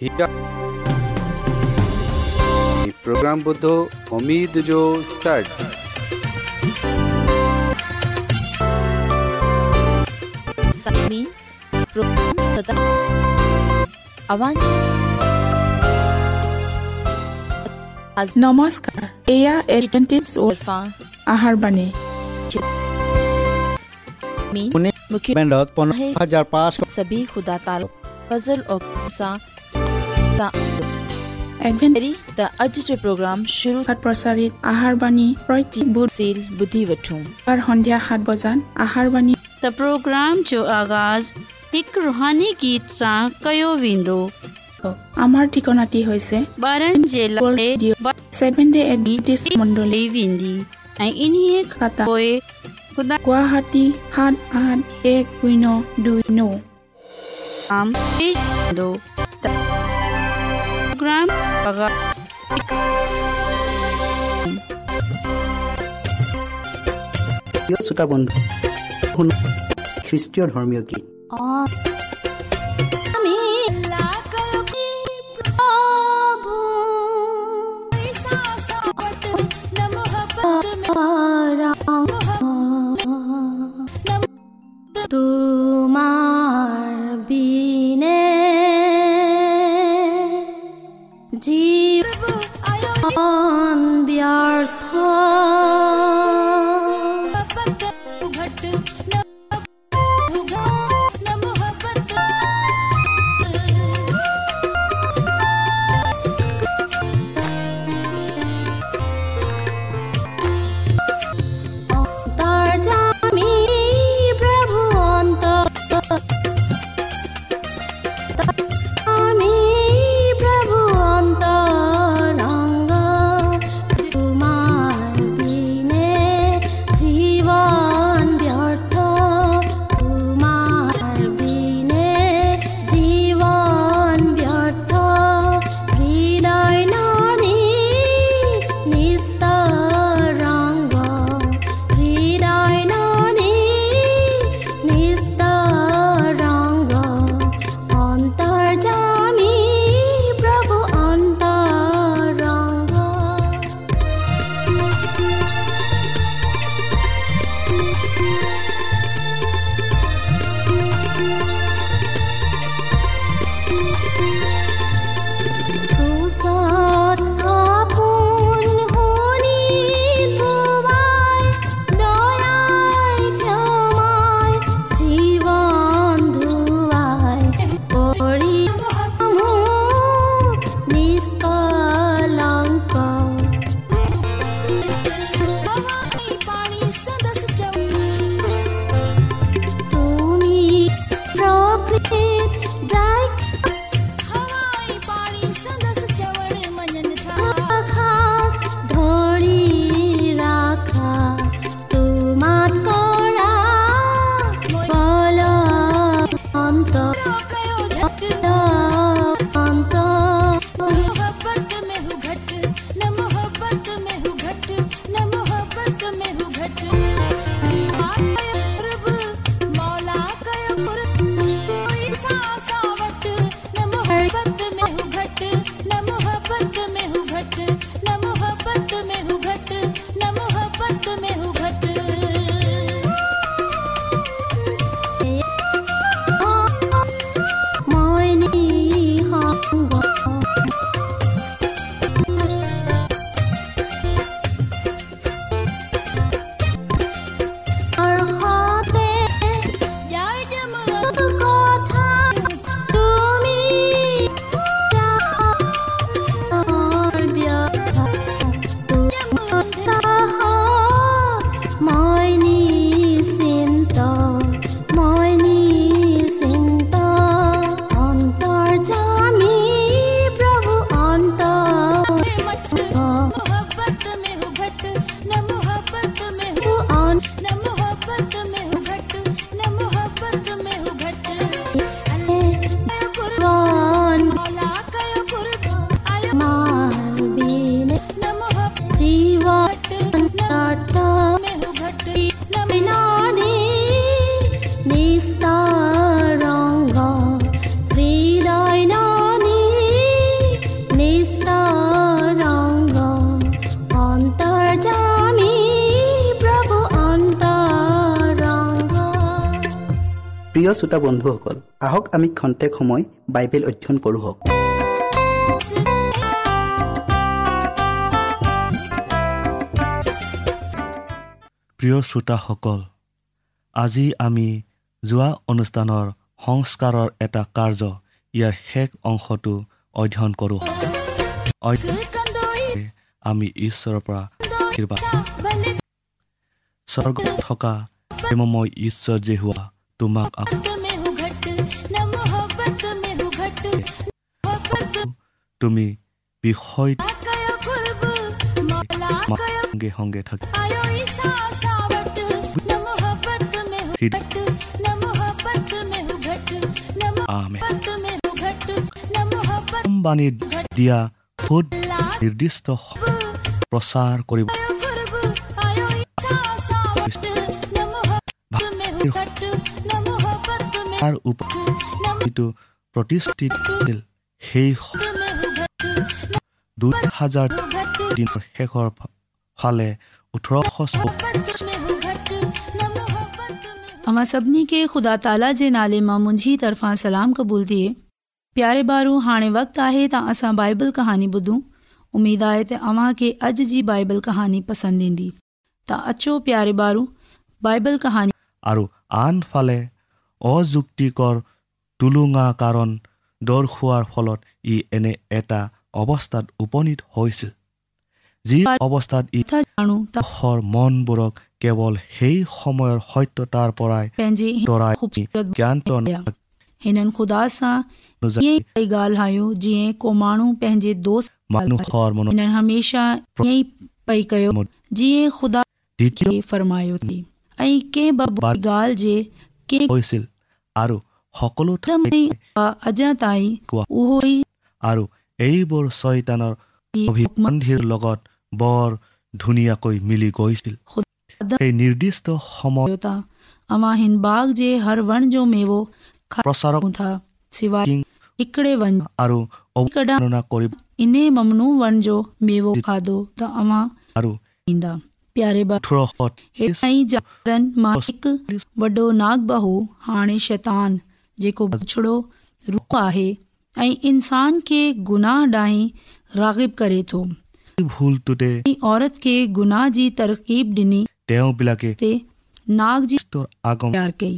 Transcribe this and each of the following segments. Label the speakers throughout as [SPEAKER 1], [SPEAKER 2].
[SPEAKER 1] हीरा program ॿुधो उमेद जो सॾु
[SPEAKER 2] साइमी प्रोग्राम तथा आवाज़
[SPEAKER 3] নমস্কাৰ এয়া এল্টেণ্টিভছ
[SPEAKER 2] अज़रफां
[SPEAKER 3] আহাৰ বাণী
[SPEAKER 2] मी
[SPEAKER 4] उन्हें
[SPEAKER 2] मुख्य
[SPEAKER 4] बैंडत पंद्रह हजार पाँच सौ
[SPEAKER 2] सभी खुदा ताल फजल और करम सां तव्हां
[SPEAKER 3] এডভেণ্ট
[SPEAKER 2] पहिरीं त अॼु जो प्रोग्राम शुरू
[SPEAKER 3] প্ৰচাৰিত আহাৰ বাণী প্ৰতি বুধবাৰ
[SPEAKER 2] सील ॿुधी वठूं
[SPEAKER 3] সন্ধিয়া সাত বজাত আহাৰ বাণী
[SPEAKER 5] त प्रोग्राम जो आगाज़ हिकु रुहानी गीत सां कयो वेंदो
[SPEAKER 3] আমাৰ ঠিকনাটি হৈছে
[SPEAKER 5] ॿारनि जे लाइ
[SPEAKER 3] ছেভেন ডে এডভেণ্টিজ মণ্ডলী
[SPEAKER 5] ॿारनि वेंदी ऐं इन्हीअ खां
[SPEAKER 3] खाता।
[SPEAKER 5] पोइ ख़ुदा
[SPEAKER 3] গুৱাহাটী সাত আঠ এক শূন্য দুই ন
[SPEAKER 5] नाम पेश कंदो त प्रोग्राम आगाज़
[SPEAKER 6] প্ৰিয় শ্ৰোতা বন্ধু শুনো খ্ৰীষ্টীয় ধৰ্মীয় গীত
[SPEAKER 7] তোমার বিনে জীবন ব্যর্থ অন্তর জামি প্রভু অন্তর আমি প্রভু অন্তরঙ্গ
[SPEAKER 6] প্ৰিয় শ্ৰোতা বন্ধুসকল আহক আমি খন্তেক সময় বাইবেল অধ্যয়ন কৰোঁ হওক
[SPEAKER 8] প্ৰিয় শ্ৰোতাসকল আজি আমি যোৱা অনুষ্ঠানৰ সংস্কাৰৰ এটা কাৰ্য ইয়াৰ শেষ অংশটো অধ্যয়ন কৰোঁ আমি ঈশ্বৰৰ পৰা আশীৰ্বাদ স্বৰ্গত থকা প্ৰেমময় ঈশ্বৰ যে হোৱা তোমাক আপ- তুমি বিষয় সংগে সংগে থাকি আমে কোম্পানী দিয়া সুদ নিৰ্দিষ্ট প্ৰচাৰ কৰিব তাৰ উপৰিটো প্ৰতিষ্ঠিত আছিল। সেই স- দুই হাজাৰ দিনৰ শেষৰ ফা- ফালে ওঠৰশ
[SPEAKER 9] अमा सभिनी खे ख़ुदा ताला जे नाले मां मुंहिंजी तरफ़ां सलाम क़बूल थिए प्यारे ॿारु हाणे वक़्तु आहे त असां बाइबल कहाणी ॿुधूं उमेद आहे त अव्हां खे अॼु जी बाइबल कहाणी पसंदि ईंदी त अचो प्यारे ॿारु बाइबल कहाणी
[SPEAKER 8] আৰু আনফালে অযুক্তিকৰ টুলুঙা কাৰণ দৰ্শোৱাৰ ফলত ই এনে এটা অৱস্থাত উপনীত হৈছিল যি অৱস্থাত ই
[SPEAKER 9] था ॼाणूं त
[SPEAKER 8] দেশৰ মনবোৰক কেৱল সেই সময়ৰ সত্যতাৰ পৰাই
[SPEAKER 9] पंहिंजे हिन
[SPEAKER 8] তৰাই
[SPEAKER 9] ख़ूबसूरत
[SPEAKER 8] জ্ঞান
[SPEAKER 9] हिननि ख़ुदा सां ईअं ई पई ॻाल्हायो जीअं को माण्हू पंहिंजे दोस्त
[SPEAKER 8] মানুহৰ মনত
[SPEAKER 9] हिननि हमेशा ईअं ई पई कयो जीअं ख़ुदा
[SPEAKER 8] দ্বিতীয়
[SPEAKER 9] खे फरमायो थी ऐं कंहिं बि ॻाल्हि जे कंहिं
[SPEAKER 8] হৈছিল আৰু সকলো
[SPEAKER 9] एकदम
[SPEAKER 8] ঠাইতে
[SPEAKER 9] ई अञा ताईं
[SPEAKER 8] কোৱা
[SPEAKER 9] उहो ई
[SPEAKER 8] আৰু এইবোৰ ছয়তানৰ অভিসন্ধিৰ লগত বৰ ধুনীয়াকৈ মিলি গৈছিল
[SPEAKER 9] ख़ुदा
[SPEAKER 8] সেই নিৰ্দিষ্ট সময়
[SPEAKER 9] कयो था अवां हिन बाग जे हर वण जो मेवो खाऊं
[SPEAKER 8] প্ৰচাৰক
[SPEAKER 9] था सिवाय हिकिड़े वन जे।
[SPEAKER 8] আৰু অৱতাৰণা কৰিব
[SPEAKER 9] इन्हे ममनू वण जो मेवो खाधो त अवां
[SPEAKER 8] আৰু
[SPEAKER 9] ईंदा प्यारे ॿार
[SPEAKER 8] ওঠৰশ
[SPEAKER 9] हेठाईं जारनि मां हिकु वॾो नाग बहू हाणे शैतान जेको बछड़ो रूप आहे ऐं इंसान खे गुनाह ॾांहुं रागिब करे थो
[SPEAKER 8] এই ভুলটোতে
[SPEAKER 9] ऐं औरत खे गुनाह जी तरकीब ॾिनी
[SPEAKER 8] তেওঁবিলাকে
[SPEAKER 9] ते नाग जी
[SPEAKER 8] খ্ৰীষ্টৰ আগমন
[SPEAKER 9] तयारु कई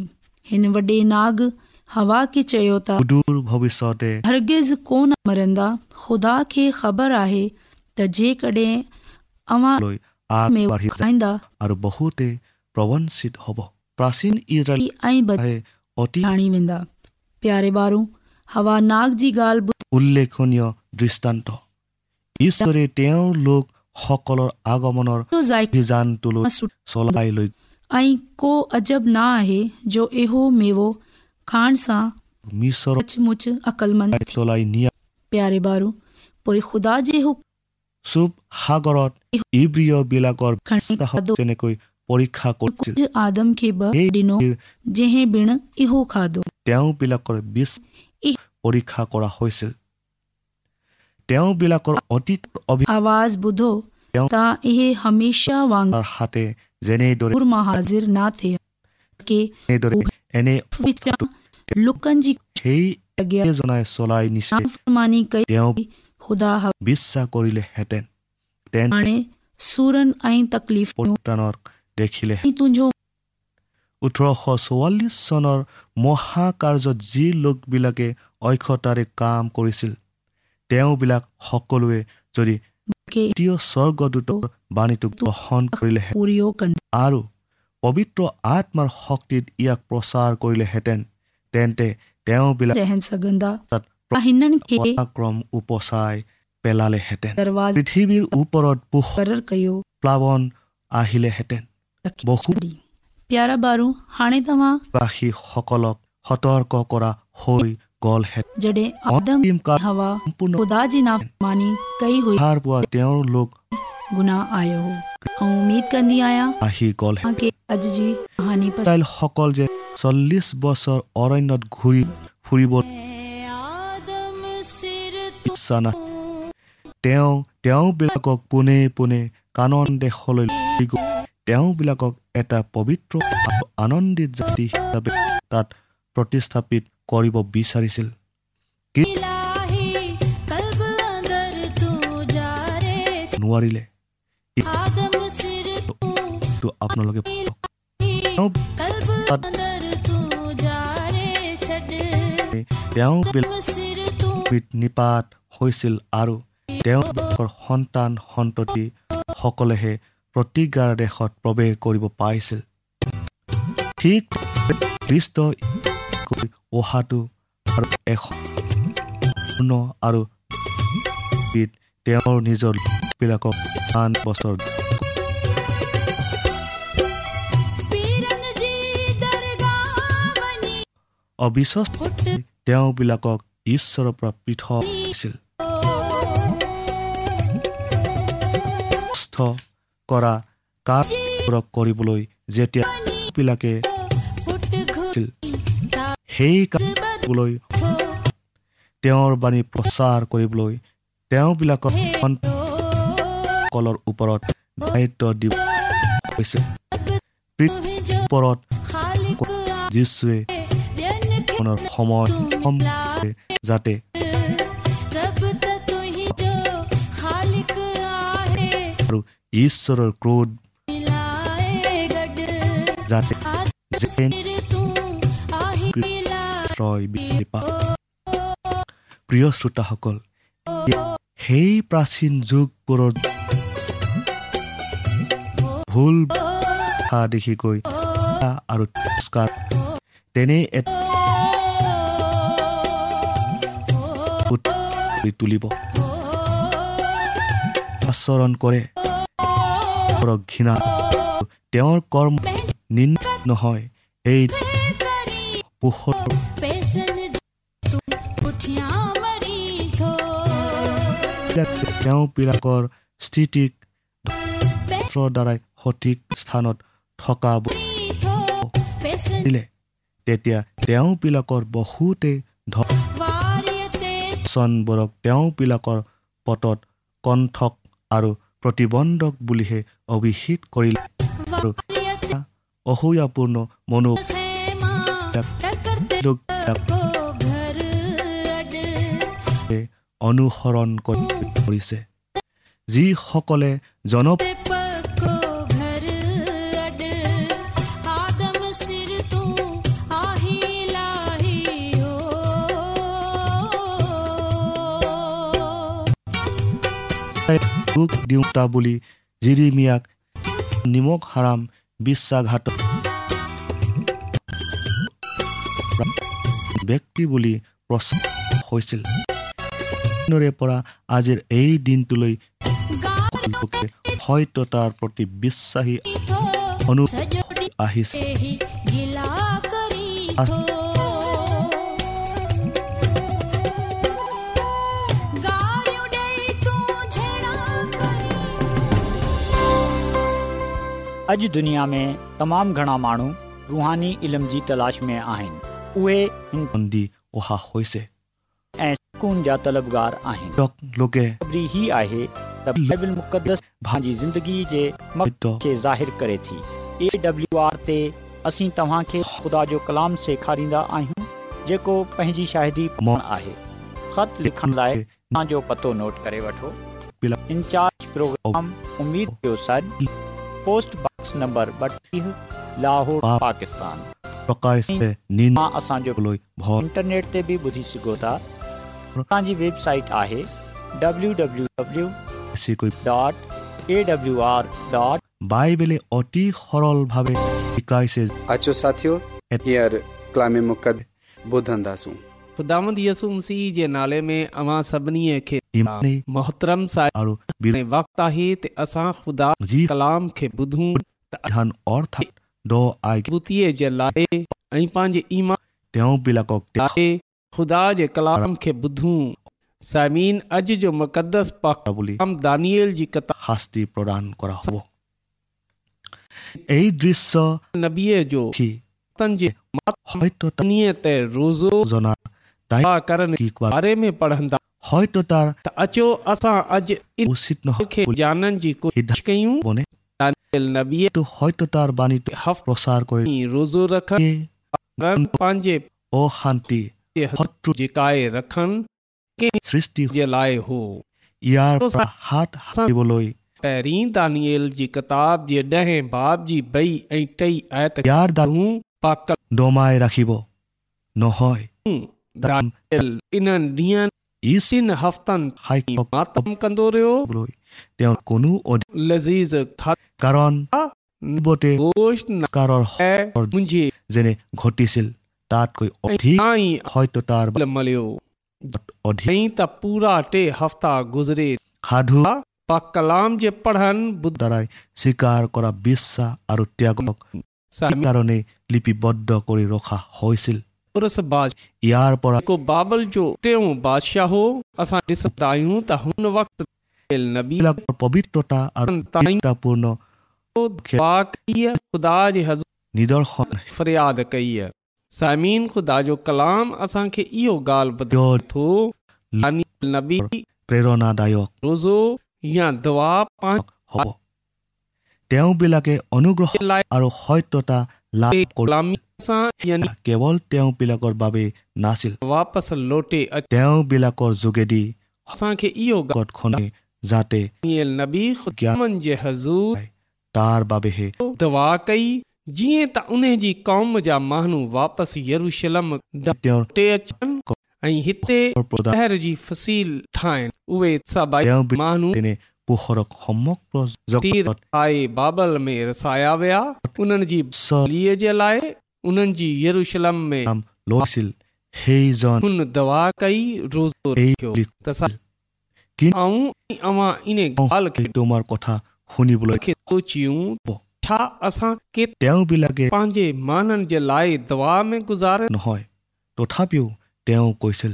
[SPEAKER 9] हिन वॾे नाग हवा खे चयो त
[SPEAKER 8] সুদূৰ ভৱিষ্যতে
[SPEAKER 9] हरगिज़ कोन मरंदा ख़ुदा खे ख़बर आहे त जेकॾहिं अवां
[SPEAKER 8] লৈ
[SPEAKER 9] में
[SPEAKER 8] আগবাঢ়ি যায়
[SPEAKER 9] खाईंदा
[SPEAKER 8] আৰু বহুতে প্ৰৱঞ্চিত হ'ব প্ৰাচীন ইজৰাইল
[SPEAKER 9] ऐं बचाए
[SPEAKER 8] অতি
[SPEAKER 9] ठाणी वेंदा प्यारे ॿारु हवा नाग जी ॻाल्हि ॿुधी
[SPEAKER 8] উল্লেখনীয় দৃষ্টান্ত ঈশ্বৰে তেওঁৰ লোকসকলৰ আগমনৰ
[SPEAKER 9] जो ज़ाइक़ो
[SPEAKER 8] অভিযানটোলৈ
[SPEAKER 9] सुठो
[SPEAKER 8] চলাই লৈ
[SPEAKER 9] ऐं को अजब न आहे जो इहो मेवो खाइण सां
[SPEAKER 8] মিছৰ
[SPEAKER 9] सचमुच अकलमंद थी
[SPEAKER 8] চলাই নিয়া
[SPEAKER 9] प्यारे ॿारु पोइ ख़ुदा जे हुकुम
[SPEAKER 8] চুপ সাগৰত ইব্ৰিয়বিলাকৰ
[SPEAKER 9] खणी
[SPEAKER 8] বিশ্বাসক
[SPEAKER 9] खाधो
[SPEAKER 8] যেনেকৈ পৰীক্ষা কৰিছিল
[SPEAKER 9] कुझु आदम खे
[SPEAKER 8] সেই
[SPEAKER 9] ब ॾिनो जंहिं बिण इहो खाधो
[SPEAKER 8] তেওঁবিলাকৰ বিশ্বাস পৰীক্ষা কৰা হৈছিল তেওঁবিলাকৰ অতীত
[SPEAKER 9] आवाज़ ॿुधो
[SPEAKER 8] তেওঁ-
[SPEAKER 9] त इहे हमेशा वांगुरु
[SPEAKER 8] অভিজ্ঞতাৰ হাতে যেনেদৰে
[SPEAKER 9] मां हाज़िर न थिया के
[SPEAKER 8] এনেদৰে এনে
[SPEAKER 9] विचां लुकनि जी
[SPEAKER 8] সেই
[SPEAKER 9] अॻियां
[SPEAKER 8] জনাই চলাই নিছে
[SPEAKER 9] नाफ़रमानी कई
[SPEAKER 8] তেওঁ
[SPEAKER 9] ख़ुदा हा-
[SPEAKER 8] বিশ্বাস কৰিলেহেঁতেন তেন্তে
[SPEAKER 9] हाणे सूरनि ऐं तकलीफ़ूं
[SPEAKER 8] পৰিত্ৰাণক দেখিলে
[SPEAKER 9] ऐं तुंहिंजो
[SPEAKER 8] ওঠৰশ চৌৱাল্লিছ চনৰ মহাকাৰ্যত যি লোকবিলাকে অক্ষতাৰে কাম কৰিছিল তেওঁবিলাক সকলোৱে যদি
[SPEAKER 9] खे
[SPEAKER 8] তৃতীয় স্বৰ্গদূতৰ বাণীটো গ্ৰহণ কৰিলেহে
[SPEAKER 9] पूरियो कंदा
[SPEAKER 8] আৰু পবিত্ৰ আত্মাৰ শক্তিত ইয়াক প্ৰচাৰ কৰিলেহেঁতেন তেন্তে তেওঁবিলাক
[SPEAKER 9] रहनि सघंदा
[SPEAKER 8] তাত
[SPEAKER 9] ऐं हिननि खे
[SPEAKER 8] পৰাক্ৰম উপচাই পেলালেহেঁতেন
[SPEAKER 9] दरवाज़
[SPEAKER 8] পৃথিৱীৰ ওপৰত পোহৰ
[SPEAKER 9] मुक़ररु कयो
[SPEAKER 8] প্লাৱন আহিলেহেঁতেন
[SPEAKER 9] रखी
[SPEAKER 8] বহু
[SPEAKER 9] छॾी। प्यारा ॿारु हाणे तव्हां
[SPEAKER 8] বাসীসকলক সতৰ্ক কৰা হৈ গ'লহেঁতেন
[SPEAKER 9] जॾहिं आदम
[SPEAKER 8] অন্তিম কাল
[SPEAKER 9] हवा
[SPEAKER 8] সম্পূৰ্ণ
[SPEAKER 9] ख़ुदा जी नाफ़रमानी कई हुई
[SPEAKER 8] সাৰ পোৱা তেওঁৰ লোক
[SPEAKER 9] गुनाह आयो हो ऐं उमेद कंदी आहियां
[SPEAKER 8] আহি গ'লহেঁতেন
[SPEAKER 9] तव्हांखे अॼु जी कहानी पसंदि
[SPEAKER 8] ইছৰাইলসকল যে চল্লিছ বছৰ অৰণ্যত ঘূৰি ফুৰিব ইচ্ছা না তেওঁ তেওঁবিলাকক পোনে পোনে কানন দেশলৈ লৈ গৈ তেওঁবিলাকক এটা পবিত্ৰ আৰু আনন্দিত জাতি হিচাপে তাত প্ৰতিস্থাপিত কৰিব বিচাৰিছিল নোৱাৰিলে এইটো আপোনালোকে পাওক। তেওঁ তাত- তেওঁ বেলেগ নিপাত হৈছিল আৰু তেওঁলোকৰ সন্তান সন্ততি সকলেহে প্ৰতিজ্ঞাৰ দেশত প্ৰৱেশ কৰিব পাৰিছিল ঠিক বিষ্ট অহাটো আৰু এখন পূৰ্ণ আৰু বিধ তেওঁৰ নিজৰ বিলাকক আন বছৰ অবিশ্বাস তেওঁবিলাকক ঈশ্বৰৰ পৰা পৃথক হৈছিল সুস্থ কৰা কামবোৰক কৰিবলৈ যেতিয়া বিলাকে ছিল, সেই কামলৈ তেওঁৰ বাণী প্ৰচাৰ কৰিবলৈ তেওঁবিলাকক সকলৰ ওপৰত দায়িত্ব দিব হৈছিল পৃথিৱীৰ ওপৰত যীশুৱে জীৱনৰ সময় সম্পূৰ্ণৰূপে যাতে আৰু ঈশ্বৰৰ ক্ৰোধ যাতে যেন আশ্ৰয় বৃদ্ধি পাওক। প্ৰিয় শ্ৰোতাসকল সেই প্ৰাচীন যুগবোৰৰ ভুল কথা দেখিকৈ হিংসা আৰু তিৰস্কাৰ তেনে এটা কৰি তুলিব আচৰণ কৰে তেওঁক ঘৃণা তেওঁৰ কৰ্ম নিন্দ নহয় এই পোহৰ তেওঁবিলাকৰ স্থিতিক শাস্ত্ৰৰ দ্বাৰাই সঠিক স্থানত থকা দিলে তেতিয়া তেওঁবিলাকৰ বহুতে ধৰ্মবোৰক তেওঁবিলাকৰ পটত কণ্ঠক আৰু প্ৰতিবন্ধক বুলিহে অভিহিত কৰিলে আৰু এটা অসূয়াপূৰ্ণ মনো অনুসৰণ কৰি কৰিছে যিসকলে জন দুখ দিওঁতা বুলি জিৰিমিয়াক নিমখ হাৰাম বিশ্বাসঘাত ব্যক্তি বুলি প্ৰচাৰ হৈছিল দিনৰে পৰা আজিৰ এই দিনটোলৈ লোকে সত্যতাৰ প্ৰতি বিশ্বাসী অনু আহিছে
[SPEAKER 10] अॼु दुनिया में तमामु घणा माण्हू रुहानी इल्म जी तलाश में आहिनि उहे हिन
[SPEAKER 8] দি অহা হৈছে
[SPEAKER 10] ऐं सुकून जा तलबगार आहिनि
[SPEAKER 8] তেওঁক লোকে
[SPEAKER 10] ख़बरी ही आहे त बाइबल मुक़दस पंहिंजी ज़िंदगी जे मक़सद खे ज़ाहिर करे थी ए डब्ल्यू आर ते असीं तव्हांखे ख़ुदा जो कलाम सेखारींदा आहियूं जेको पंहिंजी शाहिदी पाण आहे ख़त लिखण लाइ तव्हांजो पतो नोट करे वठो इंचार्ज प्रोग्राम उमेद जो सॾु पोस्ट बॉक्स नंबर ॿटीह लाहौर
[SPEAKER 8] पा-
[SPEAKER 10] पाकिस्तान
[SPEAKER 8] প্ৰকাশে নিন্দা
[SPEAKER 10] तव्हां असांजो
[SPEAKER 8] লৈ ভয়
[SPEAKER 10] इंटरनेट ते बि ॿुधी सघो था असांजी वेबसाइट आहे www
[SPEAKER 8] বেছিকৈ
[SPEAKER 10] dot A W R dot
[SPEAKER 8] বাইবেলে অতি সৰলভাৱে শিকাইছে যে
[SPEAKER 1] अचो साथियो हींअर कलाम मुक़द ॿुधंदासूं
[SPEAKER 9] ख़ुदांद यसु मसीह जे नाले में अवां सभिनी खे
[SPEAKER 8] ইমানেই
[SPEAKER 9] मोहतरम साहिब
[SPEAKER 8] আৰু বিৰোধী
[SPEAKER 9] ऐं वक़्तु आहे त असां ख़ुदा
[SPEAKER 8] যি
[SPEAKER 9] कलाम खे ॿुधूं
[SPEAKER 8] বিধান অৰ্থাৎ দ আই
[SPEAKER 9] মজবूतीअ जे लाइ ऐं पंहिंजे ईमान
[SPEAKER 8] তেওঁবিলাকক দেখা
[SPEAKER 9] लाइ ख़ुदा जे कलाम खे ॿुधूं साइमीन अॼु जो मुक़दस पाक
[SPEAKER 8] বুলি
[SPEAKER 9] दानियल जी किताब
[SPEAKER 8] শাস্তি প্ৰদান কৰা হ'ব এই দৃশ্য
[SPEAKER 9] नबीअ जो
[SPEAKER 8] সি
[SPEAKER 9] वतन जे
[SPEAKER 8] সত্যতা
[SPEAKER 9] मानीअ ते रोज़ो
[SPEAKER 8] জনা তাই
[SPEAKER 9] दुआ करण
[SPEAKER 8] কি কোৱা
[SPEAKER 9] बारे में पढ़ंदा
[SPEAKER 8] সত্যতাৰ
[SPEAKER 9] त अचो असां अॼु इन
[SPEAKER 8] উচিত নহয়
[SPEAKER 9] खे
[SPEAKER 8] বুলি
[SPEAKER 9] जाननि जी कोशिश
[SPEAKER 8] সিদ্ধান্ত
[SPEAKER 9] कयूं
[SPEAKER 8] ল'বনে?
[SPEAKER 9] नबीअ
[SPEAKER 8] এইটো সত্যতাৰ বাণীটো
[SPEAKER 9] हफ़्ते
[SPEAKER 8] প্ৰচাৰ কৰি
[SPEAKER 9] रोज़ो रखण
[SPEAKER 8] এই
[SPEAKER 9] रण पंहिंजे
[SPEAKER 8] ओ शांति
[SPEAKER 9] জিকাই ৰখণ
[SPEAKER 8] সৃষ্টি
[SPEAKER 9] जे लाइ हो
[SPEAKER 8] ইয়াৰ পৰা হাত সাৰিবলৈ
[SPEAKER 9] पहिरीं दानियल जी किताब जे ॾहें बाब जी ॿई ऐं टई आयत
[SPEAKER 8] ইয়াৰ দাহু
[SPEAKER 9] पाक
[SPEAKER 8] দমাই ৰাখিব নহয়
[SPEAKER 9] दानियल इन्हनि ॾींहनि
[SPEAKER 8] ইচিন
[SPEAKER 9] हफ़्तनि
[SPEAKER 8] হাইকক
[SPEAKER 9] मातम कंदो रहियो
[SPEAKER 8] লৈ তেওঁৰ কোনো অধি-
[SPEAKER 9] लज़ीज़ खा-
[SPEAKER 8] কাৰণ নিবতে
[SPEAKER 9] गोश्त न
[SPEAKER 8] কাৰৰ
[SPEAKER 9] ऐं मुंहिंजे
[SPEAKER 8] যেনে ঘটিছিল তাতকৈ অধিক
[SPEAKER 9] ताईं
[SPEAKER 8] হয়তো তাৰ
[SPEAKER 9] मलियो
[SPEAKER 8] অধিক
[SPEAKER 9] ऐं त पूरा टे हफ़्ता गुज़रे
[SPEAKER 8] সাধু
[SPEAKER 9] पा कलाम जे पढ़नि ॿुध
[SPEAKER 8] দ্বাৰাই স্বীকাৰ কৰা বিশ্বাস আৰু ত্যাগক
[SPEAKER 9] सामी
[SPEAKER 8] কাৰণে লিপিবদ্ধ কৰি ৰখা হৈছিল
[SPEAKER 9] पुरसबाज
[SPEAKER 8] ইয়াৰ পৰা
[SPEAKER 9] जेको बाबल जो टियों बादशाह हो असां ॾिसंदा आहियूं त हुन वक़्तु दानियल नबी
[SPEAKER 8] বিলাকৰ পবিত্ৰতা আৰু
[SPEAKER 9] ताईं
[SPEAKER 8] পূৰ্ণ
[SPEAKER 9] बाक़ी ख़ुदा जे हज़ूर
[SPEAKER 8] নিদৰ্শন
[SPEAKER 9] फरियाद कई आहे साइमीन ख़ुदा जो कलाम असांखे इहो ॻाल्हि ॿुधाए थो दानियल नबी
[SPEAKER 8] প্ৰেৰণাদায়ক
[SPEAKER 9] रोज़ो या दुआ पाण
[SPEAKER 8] হ'ব তেওঁবিলাকে অনুগ্ৰহ
[SPEAKER 9] लाइ
[SPEAKER 8] আৰু সত্যতা লাভ কৰা
[SPEAKER 9] ग़ुलामी सां यानी
[SPEAKER 8] কেৱল তেওঁবিলাকৰ বাবে নাছিল
[SPEAKER 9] वापसि लोटे अच
[SPEAKER 8] তেওঁবিলাকৰ যোগেদি
[SPEAKER 9] असांखे इहो ॻाल्हि
[SPEAKER 8] জগতখনে যাতে
[SPEAKER 9] दानियल नबी ख़ुदानि जे हज़ूर
[SPEAKER 8] তাৰ বাবেহে
[SPEAKER 9] दवा कई जीअं त उन जी क़ौम जा माण्हू वापसि यरूशलम ॾांहुं
[SPEAKER 8] তেওঁৰ
[SPEAKER 9] ते अचनि ऐं हिते
[SPEAKER 8] প্ৰদান
[SPEAKER 9] शहर जी फसील ठाहिनि उहे सभई
[SPEAKER 8] তেওঁ বি-
[SPEAKER 9] माण्हू
[SPEAKER 8] তেনে পোহৰক সমগ্ৰ
[SPEAKER 9] तीर
[SPEAKER 8] জগতত
[SPEAKER 9] ठाहे बाबल में रसाया विया उन्हनि जी लीअ जे लाइ उन्हनि जी यरूशलम में
[SPEAKER 8] নাম লৈছিল সেইজন
[SPEAKER 9] हुन दवा कई रोज़ो
[SPEAKER 8] এই
[SPEAKER 9] थियो
[SPEAKER 8] বুলি
[SPEAKER 9] त सा-
[SPEAKER 8] किन-
[SPEAKER 9] आऊं ऐं अवां इन ॻाल्हि
[SPEAKER 8] কওঁ, তোমাৰ কথা শুনিবলৈ
[SPEAKER 9] खे सोचियूं छा असां के
[SPEAKER 8] তেওঁবিলাকে
[SPEAKER 9] पंहिंजे माननि जे लाइ दवा में गुज़ारे
[SPEAKER 8] নহয় তথাপিও তেওঁ কৈছিল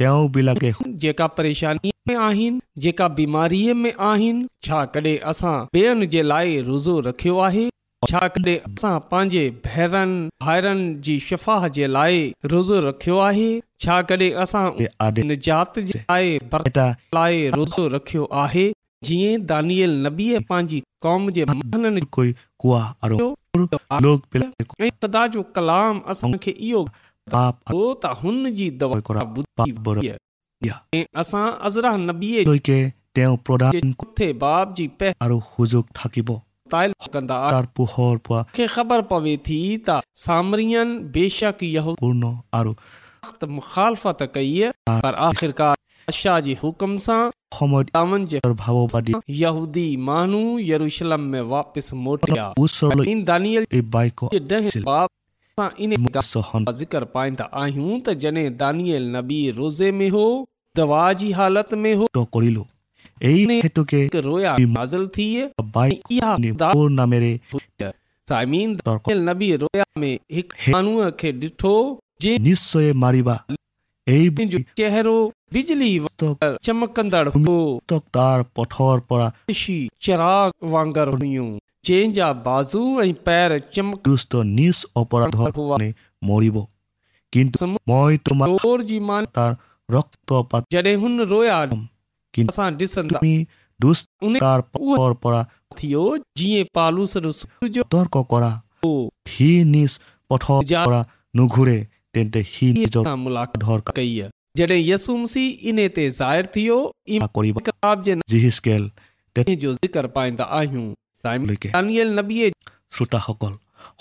[SPEAKER 8] তেওঁবিলাকে
[SPEAKER 9] जेका परेशानी में आहिनि जेका बीमारीअ में आहिनि छा कॾहिं असां ॿियनि जे लाइ रोज़ो रखियो आहे छा कॾहिं असां पंहिंजे भेरनि भाइरनि जी शिफ़ा जे लाइ रोज़ो रखियो आहे छा कॾहिं असां
[SPEAKER 8] আদেশ
[SPEAKER 9] निजात जे लाइ बरकत
[SPEAKER 8] এটা
[SPEAKER 9] लाइ रोज़ो रखियो आहे जीअं दानियल नबीअ पंहिंजी क़ौम जे महननि
[SPEAKER 8] কৈ কোৱা আৰু লোকবিলাকে
[SPEAKER 9] ऐं ख़ुदा जो कलाम असांखे इहो
[SPEAKER 8] পাপ আৰু
[SPEAKER 9] हो त हुन जी दवा
[SPEAKER 8] কৰা
[SPEAKER 9] ॿुधी वई आहे। ऐं असां अज़रा नबीअ
[SPEAKER 8] লৈকে তেওঁ প্ৰদান
[SPEAKER 9] जे कुथे बाब जी पहिरियों
[SPEAKER 8] আৰু সুযোগ থাকিব
[SPEAKER 9] ताइल कंदा आहिनि।
[SPEAKER 8] তাৰ পোহৰ পোৱা
[SPEAKER 9] खे ख़बर पवे थी त सामरियन बेशक यहूद
[SPEAKER 8] পূৰ্ণ আৰু
[SPEAKER 9] त मुखालफ़त कई आहे, पर आख़िरकार बादशाह जे हुकुम सां
[SPEAKER 8] সময়ত
[SPEAKER 9] दामन जे
[SPEAKER 8] ভাৱবাদী
[SPEAKER 9] यहूदी माण्हू यरूशलम में वापसि मोटिया
[SPEAKER 8] ওচৰলৈ
[SPEAKER 9] इन दानियल
[SPEAKER 8] এই বাক্য
[SPEAKER 9] जे ॾहें बाब सां इन ॻाल्हि
[SPEAKER 8] গ্ৰহণ
[SPEAKER 9] जा ज़िक्र पाईंदा आहियूं त जॾहिं दानियल नबी रोज़े में हो दवा जी हालत में हो
[SPEAKER 8] কৰিলো এই হেতুকে
[SPEAKER 9] हिकु रोया नाज़िल थिए
[SPEAKER 8] বাইক
[SPEAKER 9] इहा ख़ुदा
[SPEAKER 8] তোৰ নামেৰে
[SPEAKER 9] साइमीन
[SPEAKER 8] তৰ্ক
[SPEAKER 9] दानियल नबी रोया में हिकु माण्हूअ खे ॾिठो जे
[SPEAKER 8] নিশ্চয়ে মাৰিবা এই
[SPEAKER 9] जो चेहरो बिजली वांगर चमकंदड़ हो
[SPEAKER 8] ভক্তক তাৰ পথৰ পৰা
[SPEAKER 9] ऋषि চিराग वांगर हुयूं जंहिंजा बाज़ू ऐं पैर चमक
[SPEAKER 8] দুষ্ট নিজ অপৰাধৰ কাৰণে মৰিব কিন্তু মই তোমাৰ
[SPEAKER 9] चोर जी मान
[SPEAKER 8] তাৰ ৰক্তপাত
[SPEAKER 9] जॾहिं हुन रोया
[SPEAKER 8] किन-
[SPEAKER 9] असां ॾिसंदा
[SPEAKER 8] তুমি দুষ্ট
[SPEAKER 9] उन
[SPEAKER 8] তাৰ পথৰ পৰা
[SPEAKER 9] थियो जीअं पालूस रसूल जो
[SPEAKER 8] তৰ্ক কৰা
[SPEAKER 9] हो
[SPEAKER 8] সি নিজ পথৰ পৰা নুঘূৰে তেন্তে সি নিজৰ
[SPEAKER 9] सां मुलाक़ात
[SPEAKER 8] অপৰাধৰ
[SPEAKER 9] कई आहे जॾहिं यसू मसीह इन ते ज़ाहिर थियो
[SPEAKER 8] কাম কৰিব
[SPEAKER 9] ईमान किताब जे
[SPEAKER 8] জিহিচকেল
[SPEAKER 9] नाले जो ज़िक्र पाईंदा आहियूं साइमन
[SPEAKER 8] লৈকে
[SPEAKER 9] दानियल नबीअ
[SPEAKER 8] শ্ৰোতাসকল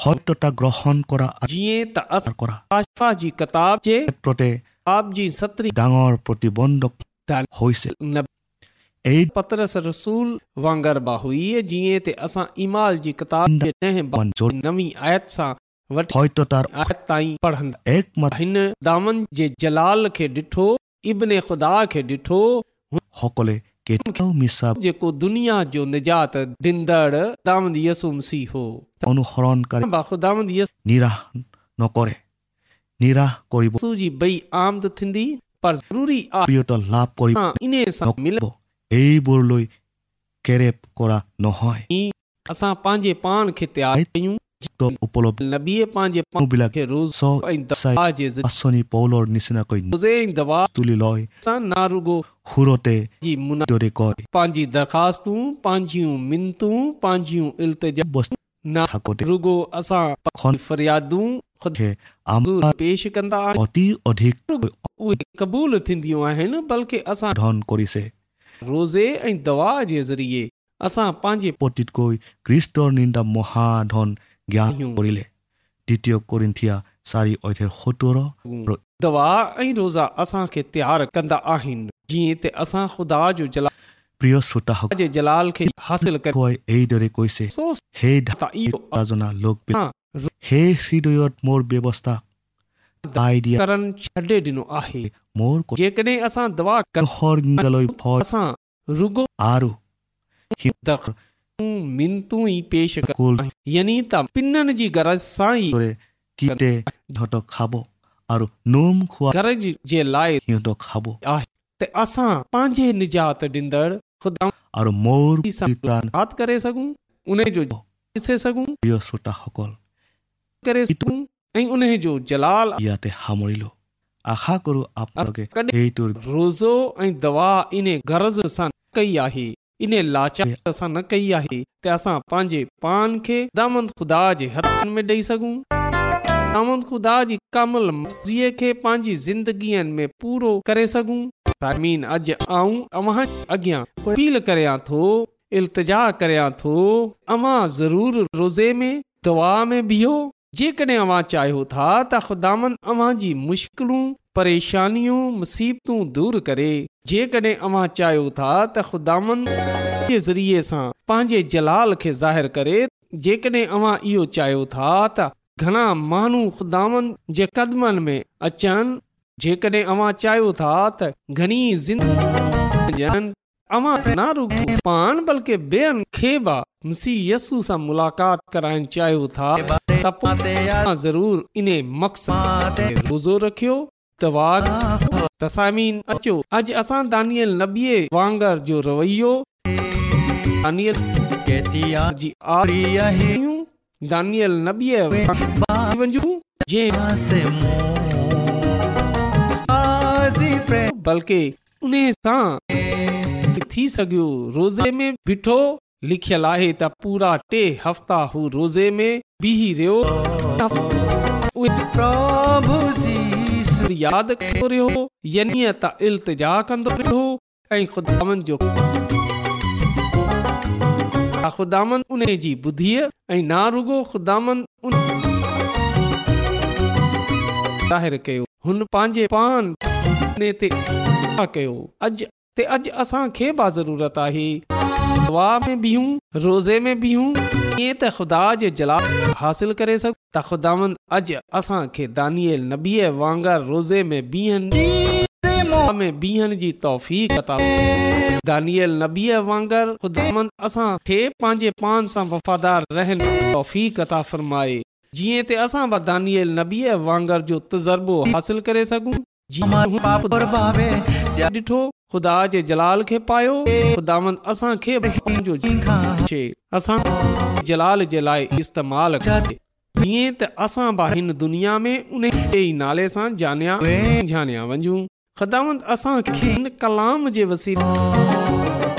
[SPEAKER 8] সত্যতা গ্ৰহণ কৰা আৰু
[SPEAKER 9] जीअं त
[SPEAKER 8] প্ৰচাৰ
[SPEAKER 9] असां
[SPEAKER 8] কৰা
[SPEAKER 9] आशा जी किताब जे
[SPEAKER 8] ক্ষেত্ৰতে
[SPEAKER 9] किताब जी सतरी
[SPEAKER 8] ডাঙৰ প্ৰতিবন্ধক হৈছে
[SPEAKER 9] न
[SPEAKER 8] এই
[SPEAKER 9] पतरस रसूल वांगर बा हुई जीअं ते असां ईमाल जी किताब जे ॾहें बाब
[SPEAKER 8] মঞ্জৰ
[SPEAKER 9] जी नवीं आयत सां वठी
[SPEAKER 8] সত্যতাৰ
[SPEAKER 9] आयत ताईं पढ़ंदा
[SPEAKER 8] একমাত্ৰ
[SPEAKER 9] हिन दामन जे जलाल खे ॾिठो इब्न ख़ुदा खे ॾिठो
[SPEAKER 8] সকলে কেতিয়াও মিছা
[SPEAKER 9] जेको दुनिया जो निजात ॾींदड़ दामद यसुम सी हो
[SPEAKER 8] অনুসৰণকাৰী
[SPEAKER 9] बा ख़ुदामद
[SPEAKER 8] নিৰাশ নকৰে নিৰাশ কৰিব
[SPEAKER 9] यसू जी बई आमद थींदी पर ज़रूरी आहे
[SPEAKER 8] প্ৰিয়তা লাভ কৰিব
[SPEAKER 9] असां इन सां मिल
[SPEAKER 8] নকৰিব এইবোৰলৈ কেৰেপ কৰা নহয়
[SPEAKER 9] असां पंहिंजे पाण खे तयारु कयूं
[SPEAKER 8] তো উপলব্ধ
[SPEAKER 9] नबीअ पंहिंजे पाण
[SPEAKER 8] বিলাক
[SPEAKER 9] खे रोज़
[SPEAKER 8] ছ
[SPEAKER 9] ऐं दवा जे ज़रिए
[SPEAKER 8] আচনি পৌলৰ নিচিনাকৈ
[SPEAKER 9] रोज़े ऐं दवा
[SPEAKER 8] তুলি লয়
[SPEAKER 9] सां ना रुगो
[SPEAKER 8] সুৰতে
[SPEAKER 9] जी मुना
[SPEAKER 8] দৰে কয়
[SPEAKER 9] पंहिंजी दरख़्वास्तूं पंहिंजियूं मिनतूं पंहिंजियूं इल्तिजा
[SPEAKER 8] বস্তু
[SPEAKER 9] ना रुगो असां फरियादूं ख़ुद खे पेश कंदा
[SPEAKER 8] অতি অধিক
[SPEAKER 9] उहे क़बूल थींदियूं आहिनि बल्कि असां
[SPEAKER 8] ধন কৰিছে
[SPEAKER 9] रोज़े ऐं दवा जे ज़रिए असां पंहिंजे
[SPEAKER 8] পতিতকৈ কৃষ্টৰ নিন্দা মহাধন জ্ঞান কৰিলে দ্বিতীয় কৰিন্থিয়া চাৰি অধ্যায়ৰ সত্তৰ
[SPEAKER 9] दवा ऐं रोज़ा असांखे तयारु कंदा आहिनि जीअं त असां ख़ुदा जो जला
[SPEAKER 8] প্ৰিয় শ্ৰোতাসক
[SPEAKER 9] जे जलाल खे हासिल
[SPEAKER 8] কয় এইদৰে কৈছে সেই জনা লোক সেই হৃদয়ত মোৰ ব্যৱস্থা তাই দিয়া
[SPEAKER 9] करण छॾे ॾिनो आहे
[SPEAKER 8] মোৰ
[SPEAKER 9] जेकॾहिं असां दवा
[SPEAKER 8] স্বৰ্গলৈ ভয়
[SPEAKER 9] असां रुगो
[SPEAKER 8] আৰু
[SPEAKER 9] मिनतूं ई पेश यानी त पिननि जी गरज सां ई
[SPEAKER 8] কীটে সিহঁতক খাব আৰু নোম খোৱা
[SPEAKER 9] गरज जे लाइ
[SPEAKER 8] সিহঁতক খাব
[SPEAKER 9] आहे त असां पंहिंजे निजात ॾींदड़ ख़ुदा
[SPEAKER 8] আৰু মোৰ প্ৰাণ
[SPEAKER 9] यादि करे सघूं उन जो ॾिसे सघूं
[SPEAKER 8] প্ৰিয় শ্ৰোতাসকল
[SPEAKER 9] करे सघूं ऐं उन जो जलाल
[SPEAKER 8] ইয়াতে সামৰিলো আশা কৰোঁ আপোনালোকে
[SPEAKER 9] कॾहिं
[SPEAKER 8] সেইটোৰ
[SPEAKER 9] रोज़ो ऐं दवा इन गरज सां कई आहे इन लाचार सां न कई आहे त असां पंहिंजे पान खे दामन ख़ुदा जे हथनि में ॾेई सघूं दामन ख़ुदा जी कामल मर्ज़ीअ खे पंहिंजी ज़िंदगीअ में पूरो करे सघूं साइमीन अॼु आऊं अव्हां अॻियां अपील करियां थो इल्तिजा करियां थो अवां ज़रूरु रोज़े में दवा में बीहो जेकॾहिं अवां चाहियो था त ख़ुदामन अवां जी मुश्किलूं परेशानियूं मुसीबतूं दूर करे जेकॾहिं अवां चाहियो था त ख़ुदामन जे ज़रिए सां पंहिंजे जलाल खे ज़ाहिर करे जेकॾहिं अवां इहो चाहियो था त घणा माण्हू ख़ुदामन जे कदमनि में अचनि जेकॾहिं अवां चाहियो था त घणी ज़िंदगी अवां न रुगो पाण बल्कि ॿियनि खे बि मसीह यस्सू सां मुलाक़ात कराइण चाहियो था त पोइ ज़रूरु इन मक़सद रोज़ो रखियो दवा तसामीन अचो अॼु असां दानियल नबीअ वांगर जो रवैयो दानियल जी आरी आहियूं दानियल नबीअ वञूं जंहिं बल्कि उन सां थी सघियो रोज़े में बीठो लिखियल आहे त पूरा टे हफ़्ता हू रोज़े में बीही रहियो यादि कंदो रहियो यानी त इल्तिजा कंदो रहियो ऐं ख़ुदानि जो ख़ुदानि उन जी ॿुधीअ ऐं ना रुगो ख़ुदानि उन ज़ाहिर कयो हुन पंहिंजे पान ते कयो अॼु ते अॼु असांखे बि ज़रूरत आहे दवा में बीहूं रोज़े में बीहूं ईअं त ख़ुदा जे जलाल हासिल करे सघूं त ख़ुदांद अॼु असांखे दानियल नबीअ वांगर रोज़े में बीहनि में बीहनि जी तौफ़ी दानियल नबीअ वांगर ख़ुदांद असांखे पंहिंजे पान सां वफ़ादार रहनि तौफ़ी कता फरमाए जीअं त असां बि दानियल नबीअ वांगर जो तज़ुर्बो हासिल करे सघूं ॾिठो ख़ुदा जे जलाल खे पायो ख़ुदांद असां खे असां जलाल जे लाइ इस्तेमाल जीअं त असां बि हिन दुनिया में उन ई नाले सां जानिया जानिया वञूं ख़ुदांद असां हिन कलाम जे वसीले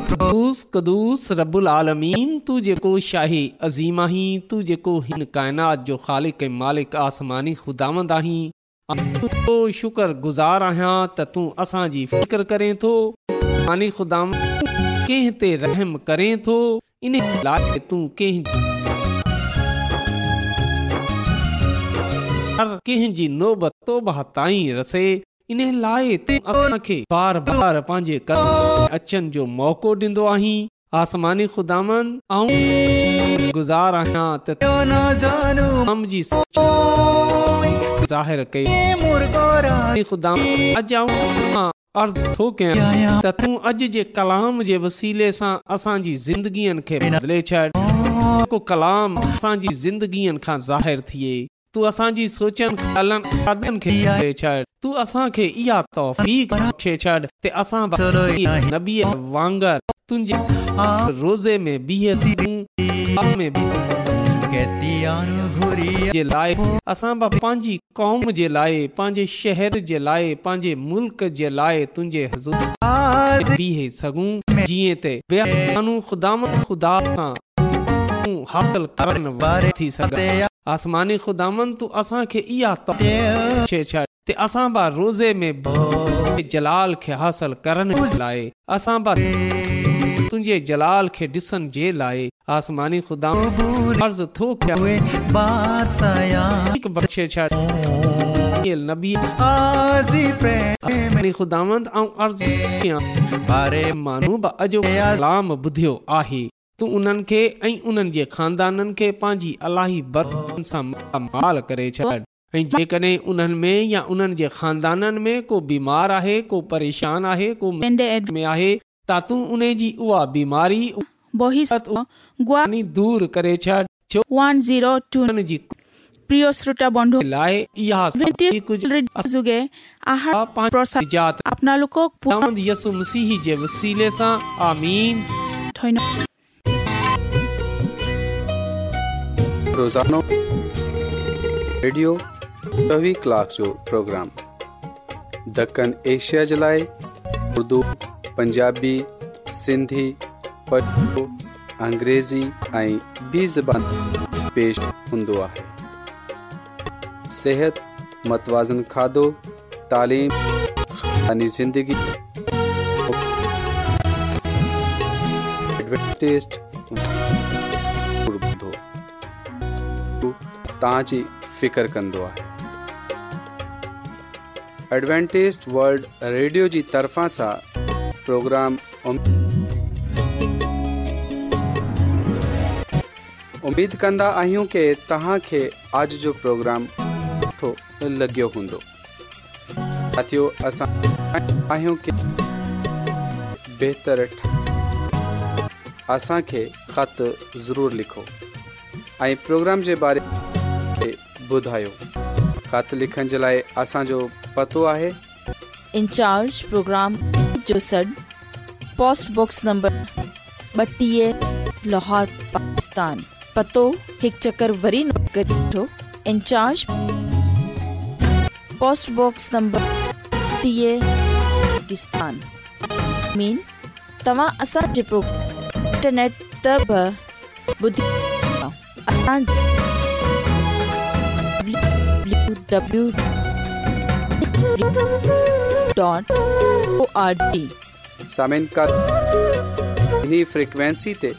[SPEAKER 9] कदुस रबुल आलमीन तू जेको शाही अज़ीम आहीं तू जेको हिन काइनात जो ख़ालिक ऐं मालिक आसमानी ख़ुदांद आहीं तो शुक्र गुज़ार आहियां त तूं असांजी फिकर करें थो मानी ख़ुदाम कंहिं ते रहम करें थो इन लाइ तूं कंहिं हर कंहिंजी नोबत तोबा ताईं रसे इन लाइ तूं असांखे बार बार पंहिंजे कदम अचनि जो मौक़ो ॾींदो आहीं आसमानी ख़ुदामन ऐं गुज़ार आहियां त ज़ाहिर कई ख़ुदा अॼु आऊं मां अर्ज़ थो कयां त तूं अॼु जे कलाम जे वसीले सां असांजी ज़िंदगीअ खे बदिले छॾ को कलाम असांजी ज़िंदगीअ खां ज़ाहिर थिए तूं असांजी सोचनि ॻाल्हियुनि इरादनि खे बदिले छॾ तूं असांखे इहा तौफ़ीक बख़्शे छॾ ते असां नबीअ वांगर तुंहिंजे रोज़े में बीह में घुरी जे लाइ असां बि पंहिंजी क़ौम जे लाइ पंहिंजे शहर जे लाइ पंहिंजे मुल्क जे लाइ तुंहिंजे हज़ूर बीहे सघूं जीअं त बेहानू ख़ुदाम ख़ुदा सां हासिल करण वारे थी सघां आसमानी ख़ुदामन तूं असांखे इहा छा ते असां बि रोज़े में जलाल खे हासिल करण लाइ असां बि तुंहिंजे जलाल खे ॾिसण जे लाइ आसमानी ख़ुदा अर्ज़ थो बख़्शे छा नबी ख़ुदावंद ऐं अर्ज़ बारे माण्हू बि अॼु कलाम ॿुधियो आहे तूं उन्हनि खे ऐं उन्हनि जे खानदाननि खे पंहिंजी अलाही बरतन सां माल करे छॾ ऐं जेकॾहिं उन्हनि में या उन्हनि जे खानदाननि में को बीमार आहे को परेशान आहे को में आहे त तूं उन जी उहा बीमारी दूर करे छॾ
[SPEAKER 11] প্রিয় শ্রোতা বন্ধু
[SPEAKER 9] লায় ইয়া
[SPEAKER 11] যুগে আহার
[SPEAKER 9] প্রসাদ
[SPEAKER 11] আপোনালোকক
[SPEAKER 9] यसु मसीह जे वसीले सां आमीन
[SPEAKER 11] ধন্যবাদ
[SPEAKER 1] रोज़ानो रेडियो ॾवी कलाक जो प्रोग्राम दखन एशिया जे लाइ उर्दू पंजाबी सिंधी पटो अंग्रेज़ी ऐं ॿी ज़बान पेश हूंदो आहे सिहत मतवाज़न खाधो तालीम यानी ज़िंदगी एडवेटेस्ट तव्हांजी फिकर कंदो आहे एडवेंटेज वर्ल्ड रेडियो जी तरफ़ा सां प्रोग्राम उमेद कंदा आहियूं की तव्हांखे अॼु जो प्रोग्राम सुठो लॻियो हूंदो साथियो असां आहियूं की बहितर असांखे ख़त ज़रूरु लिखो ऐं प्रोग्राम जे बारे ॿुधायो ख़त लिखण जे लाइ असांजो पतो आहे
[SPEAKER 2] इंचार्ज प्रोग्राम जो सॾु पोस्टबॉक्स नंबर ॿटीह लाहौर पाकिस्तान पतो हिकु चकर वरी नोट करे वठो इंचार्ज पोस्टबॉक्स नंबर टीह पाकिस्तान मीन तव्हां असांजे प्रोग्राम इंटरनेट त बि ॿुधी
[SPEAKER 1] सामिन का फ्रिक्वेंसी ते